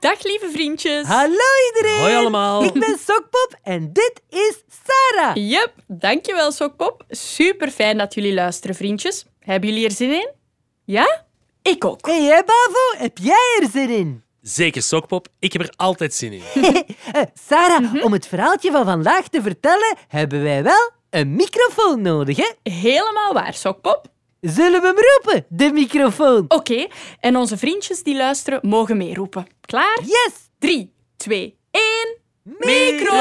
Dag lieve vriendjes. Hallo iedereen! Hoi allemaal. Ik ben Sokpop en dit is Sarah. Yep, dankjewel Sokpop. Super fijn dat jullie luisteren, vriendjes. Hebben jullie er zin in? Ja? Ik ook. Hey, hè, Bavo, heb jij er zin in? Zeker Sokpop, ik heb er altijd zin in. Eh, Sarah, Mhm. om het verhaaltje van vandaag te vertellen, hebben wij wel een microfoon nodig, hè? Helemaal waar, Sokpop. Zullen we hem roepen, de microfoon? Oké, en onze vriendjes die luisteren mogen meeroepen. Klaar? Oh. Yes! Drie, twee, één. Micro!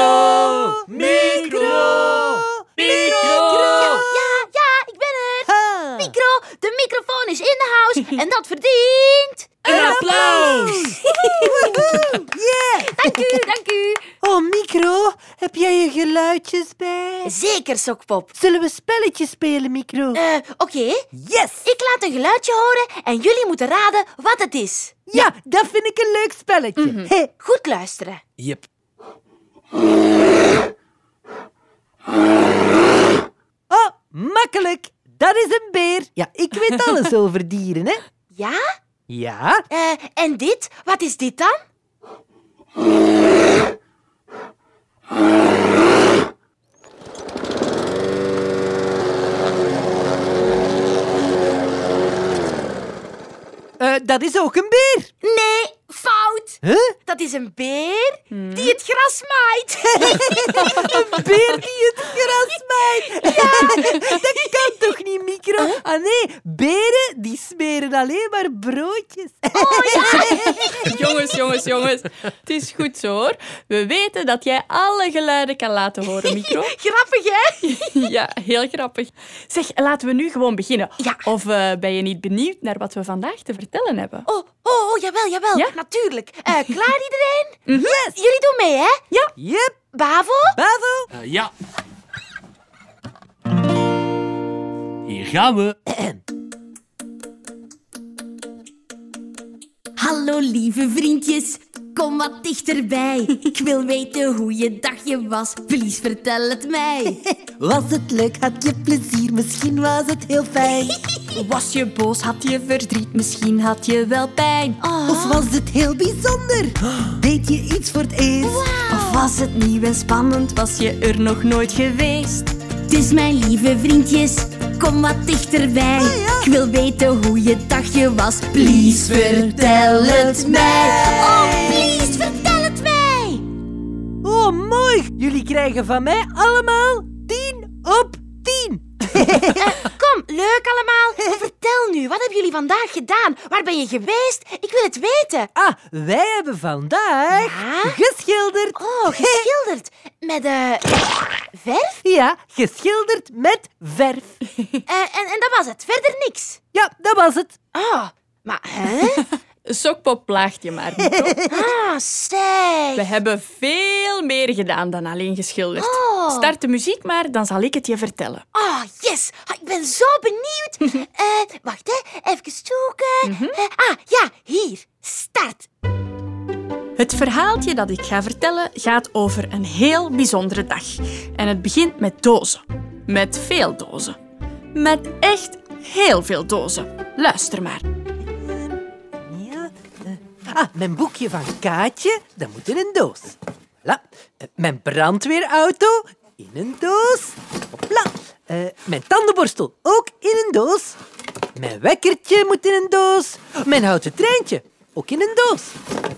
Micro! Micro! Ja, ja, ik ben er. Ha. Micro, de microfoon is in de house en dat verdient. Een applaus! Woehoe, Yeah! Dank u, dank u. Oh, micro, heb jij je geluidjes bij? Zeker, Sokpop. Zullen we spelletjes spelen, micro? Eh, Oké, Yes! ik laat een geluidje horen en jullie moeten raden wat het is. Ja, dat vind ik een leuk spelletje. Hé, Goed luisteren. Yep. Oh, makkelijk. Dat is een beer. Ja, ik weet alles over dieren, hè? Ja? Ja, Eh, en dit? Wat is dit dan? eh, dat is ook een beer. Nee, fout. Huh? Dat is een beer die het gras maait. Een beer die het gras maait. dat kan toch niet, micro? Ah nee, beren die smeren alleen maar broodjes. Jongens, jongens, jongens. Het is goed zo hoor. We weten dat jij alle geluiden kan laten horen, Micro. Grappig, hè? Ja, heel grappig. Zeg, laten we nu gewoon beginnen. Ja. Of eh, ben je niet benieuwd naar wat we vandaag te vertellen hebben? Oh, oh, oh jawel, jawel. Ja? Natuurlijk. Eh, klaar iedereen? Yes. Jullie doen mee, hè? Ja. Yep, Bavo? Bavo. Eh, ja. Hier gaan we. Hallo lieve vriendjes, kom wat dichterbij. Ik wil weten hoe je dagje was, please vertel het mij. Was het leuk? Had je plezier? Misschien was het heel fijn. Was je boos, had je verdriet, misschien had je wel pijn. Ah. Of was het heel bijzonder? Deed je iets voor het eerst? Of was het nieuw en spannend, was je er nog nooit geweest? Dus mijn lieve vriendjes, kom wat dichterbij. Oh, Ik wil weten hoe je dagje was, please vertel het mij. Oh, please vertel het mij. Oh, mooi. Jullie krijgen van mij allemaal 10 op 10. Kom, leuk allemaal. Vertel nu, wat hebben jullie vandaag gedaan? Waar ben je geweest? Ik wil het weten. Ah, wij hebben vandaag Ja? geschilderd. Oh, geschilderd. Met eh verf? Ja, geschilderd met verf. Eh, en, en dat was het. Verder niks. Ja, dat was het. Oh, maar hè? Sokpop plaagt je maar, Micro. Ah, zeg. We hebben veel meer gedaan dan alleen geschilderd. Oh. Start de muziek maar, dan zal ik het je vertellen. Ah, yes. Ah, Ik ben zo benieuwd. Eh, wacht, hè. Even zoeken. Eh, ah, ja, hier. Start. Het verhaaltje dat ik ga vertellen gaat over een heel bijzondere dag. En het begint met dozen. Met veel dozen. Met echt heel veel dozen. Luister maar. Ja. eh, Ah, mijn boekje van Kaatje, dat moet in een doos. Voilà. Eh, Mijn brandweerauto, in een doos. Hopla. Eh, mijn tandenborstel, ook in een doos. Mijn wekkertje moet in een doos. Mijn houten treintje, ook in een doos.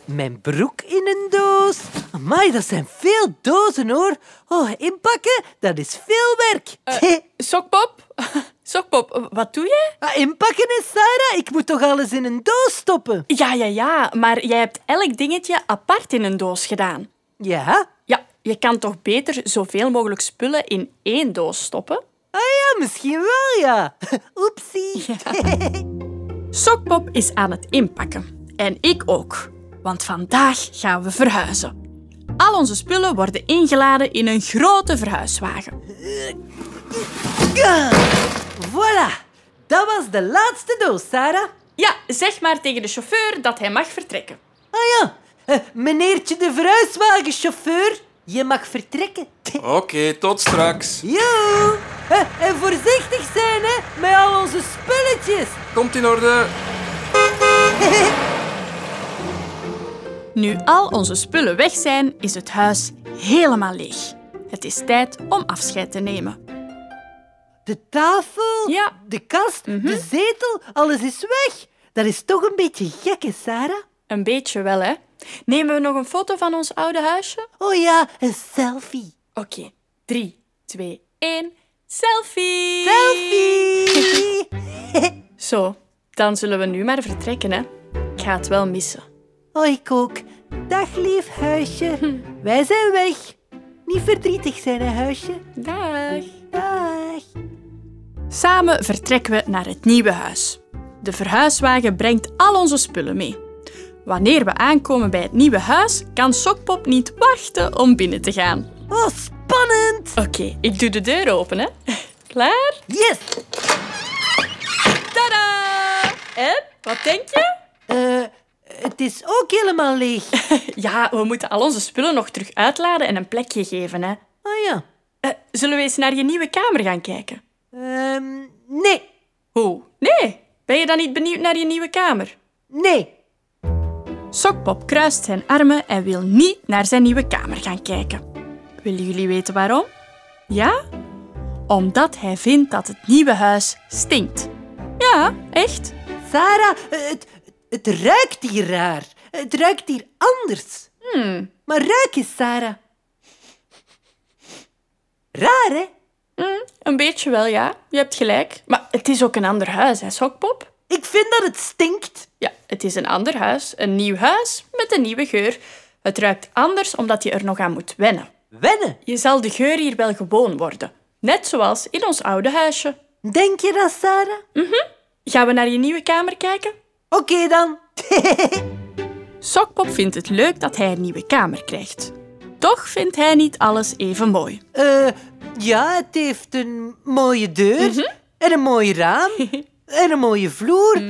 Mijn broek in een doos. Amai, dat zijn veel dozen, hoor. Oh, inpakken, dat is veel werk. Sokpop? Sokpop, wat doe jij? Ah, inpakken is Sarah. Ik moet toch alles in een doos stoppen? Ja, ja, ja, maar jij hebt elk dingetje apart in een doos gedaan. Ja? Ja, je kan toch beter zoveel mogelijk spullen in één doos stoppen? Ah ja, misschien wel, ja. Oepsie. Sokpop is aan het inpakken. En ik ook. Want vandaag gaan we verhuizen. Al onze spullen worden ingeladen in een grote verhuiswagen. Voilà. Dat was de laatste doos, Sarah. Ja, zeg maar tegen de chauffeur dat hij mag vertrekken. Ah ja. Eh, meneertje de verhuiswagenchauffeur, je mag vertrekken. Oké, tot straks. Jo. Eh, en voorzichtig zijn, hè, met al onze spulletjes. Komt in orde. Nu al onze spullen weg zijn, is het huis helemaal leeg. Het is tijd om afscheid te nemen. De tafel, Ja. de kast, de zetel, alles is weg. Dat is toch een beetje gek, hè, Sarah? Een beetje wel, hè? Nemen we nog een foto van ons oude huisje? Oh ja, een selfie. Oké, 3, 2, 1. Selfie! Selfie! Zo, dan zullen we nu maar vertrekken, hè? Ik ga het wel missen. Oh, ik ook. Dag, lief huisje. Wij zijn weg. Niet verdrietig zijn, hè, huisje. Dag! Dag. Samen vertrekken we naar het nieuwe huis. De verhuiswagen brengt al onze spullen mee. Wanneer we aankomen bij het nieuwe huis, kan Sokpop niet wachten om binnen te gaan. Oh, spannend. Oké, ik doe de deur open, hè. Klaar? Yes. Tada! En, wat denk je? Eh, het is ook helemaal leeg. Ja, we moeten al onze spullen nog terug uitladen en een plekje geven, hè. Oh ja. Eh, zullen we eens naar je nieuwe kamer gaan kijken? Ehm, nee, Oh, nee. Ben je dan niet benieuwd naar je nieuwe kamer? nee. Sokpop kruist zijn armen en wil niet naar zijn nieuwe kamer gaan kijken. Willen jullie weten waarom? Ja? Omdat hij vindt dat het nieuwe huis stinkt. Ja, echt? Sarah, eh, het, het ruikt hier raar. Het ruikt hier anders. Maar ruik eens, Sarah. Raar, hè? Een beetje wel, ja. Je hebt gelijk. Maar het is ook een ander huis, hè, Sokpop? Ik vind dat het stinkt. Ja, het is een ander huis. Een nieuw huis met een nieuwe geur. Het ruikt anders omdat je er nog aan moet wennen. Wennen. Je zal de geur hier wel gewoon worden. Net zoals in ons oude huisje. Denk je dat, Sarah? Gaan we naar je nieuwe kamer kijken? Oké dan. Sokpop vindt het leuk dat hij een nieuwe kamer krijgt. Toch vindt hij niet alles even mooi. Eh, ja, het heeft een mooie deur en een mooi raam en een mooie vloer.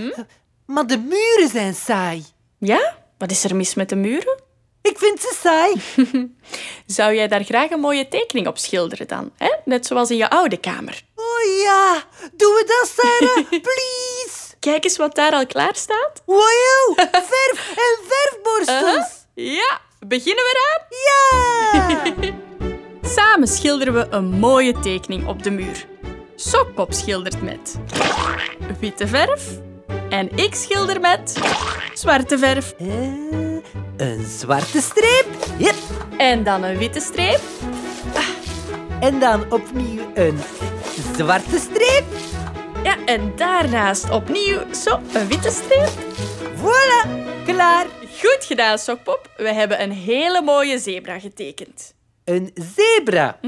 Maar de muren zijn saai. Ja? Wat is er mis met de muren? Ik vind ze saai. Zou jij daar graag een mooie tekening op schilderen dan? Hè? Net zoals in je oude kamer. Oh ja, doen we dat, Sarah? Please. Kijk eens wat daar al klaar staat. Wow, verf en verfborstels. Ja, beginnen we eraan? Ja. Samen schilderen we een mooie tekening op de muur. Sokpop schildert met witte verf en ik schilder met zwarte verf Eh, een zwarte streep. Yep. en dan een witte streep En dan opnieuw een zwarte streep. Ja, en daarnaast opnieuw zo een witte streep. Voilà, klaar. Goed gedaan, Sokpop. We hebben een hele mooie zebra getekend. Een zebra.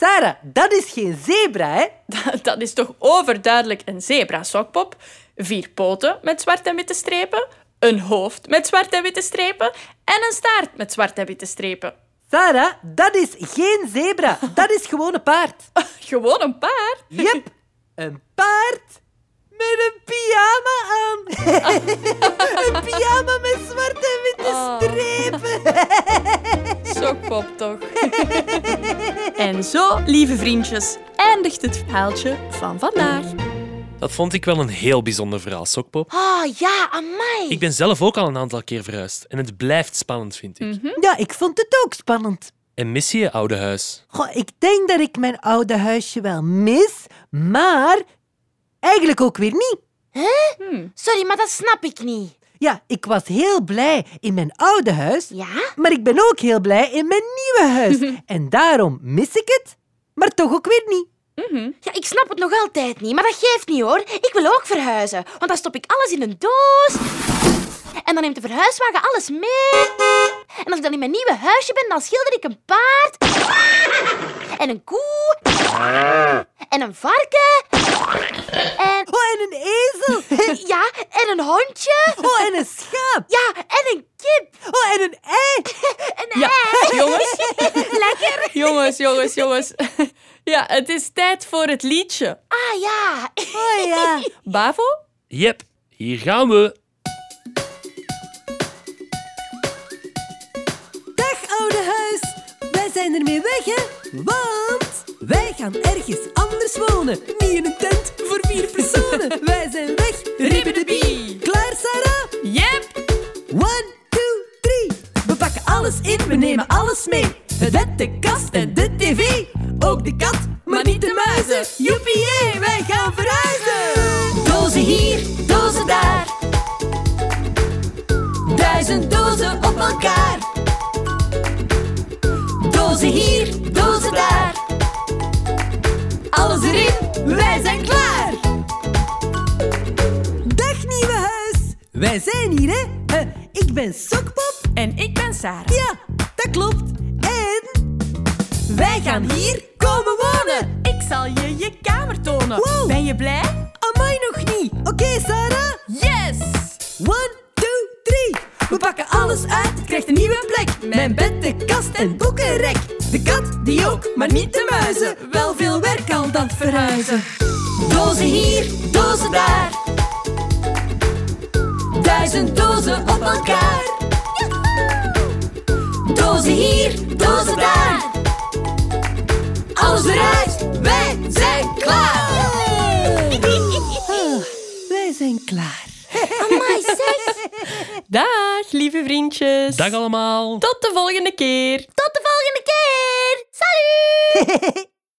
Sarah, dat is geen zebra, hè? Dat, dat is toch overduidelijk een zebra, Sokpop? Vier poten met zwart en witte strepen, een hoofd met zwart en witte strepen en een staart met zwart en witte strepen. Sarah, dat is geen zebra. Dat is gewoon een paard. Gewoon een paard. Jep, een paard met een pyjama aan. een pyjama met zwarte en witte Oh. strepen. Sokpop toch. en zo, lieve vriendjes, eindigt het verhaaltje van vandaag. Dat vond ik wel een heel bijzonder verhaal, Sokpop. Oh ja, amai. Ik ben zelf ook al een aantal keer verhuisd. En het blijft spannend, vind ik. Ja, ik vond het ook spannend. En mis je je oude huis? Goh, ik denk dat ik mijn oude huisje wel mis, maar eigenlijk ook weer niet. Sorry, maar dat snap ik niet. Ja, ik was heel blij in mijn oude huis, Ja? maar ik ben ook heel blij in mijn nieuwe huis. en daarom mis ik het, maar toch ook weer niet. Ja, ik snap het nog altijd niet, maar dat geeft niet hoor. Ik wil ook verhuizen, want dan stop ik alles in een doos. En dan neemt de verhuiswagen alles mee. En als ik dan in mijn nieuwe huisje ben, dan schilder ik een paard. En een koe. En een varken. En Oh, en een ezel. ja, en een hondje. Oh, en een schaap. Ja, en een kip. Oh, en een ei. Een Ja, ei. jongens. Lekker. Jongens, jongens, jongens. Ja, het is tijd voor het liedje. Ah ja. Oh ja. Bavo? Yep, hier gaan we. Dag oude huis, wij zijn ermee weg hè, want wij gaan ergens anders wonen. Niet in een tent voor vier personen. wij zijn weg, ribbedebie. Klaar Sarah? Yep! One, two, three. Met de kast en de tv. Ook de kat, maar niet de muizen. Joepie, jee, wij gaan verhuizen. Dozen hier, dozen daar. Duizend dozen op elkaar. Dozen hier, dozen daar. Alles erin, wij zijn klaar. Dag nieuwe huis. Wij zijn hier, hè? Eh, ik ben Sokpop. En ik ben Sarah. Ja, dat klopt. En wij gaan hier komen wonen. Ik zal je je kamer tonen. Wow. Ben je blij? Amai nog niet. Oké, Sarah. Yes! One, two, three. We pakken alles uit, krijgt een nieuwe plek. Mijn bed, de kast en boekenrek. De kat, die ook, maar niet de muizen. Wel veel werk al dat verhuizen. Dozen hier, dozen daar. Duizend dozen op elkaar. Dozen hier, dozen daar. Alles eruit, wij zijn klaar. Ah, Wij zijn klaar. Dag, lieve vriendjes. Dag allemaal. Tot de volgende keer. Tot de volgende keer. Salut.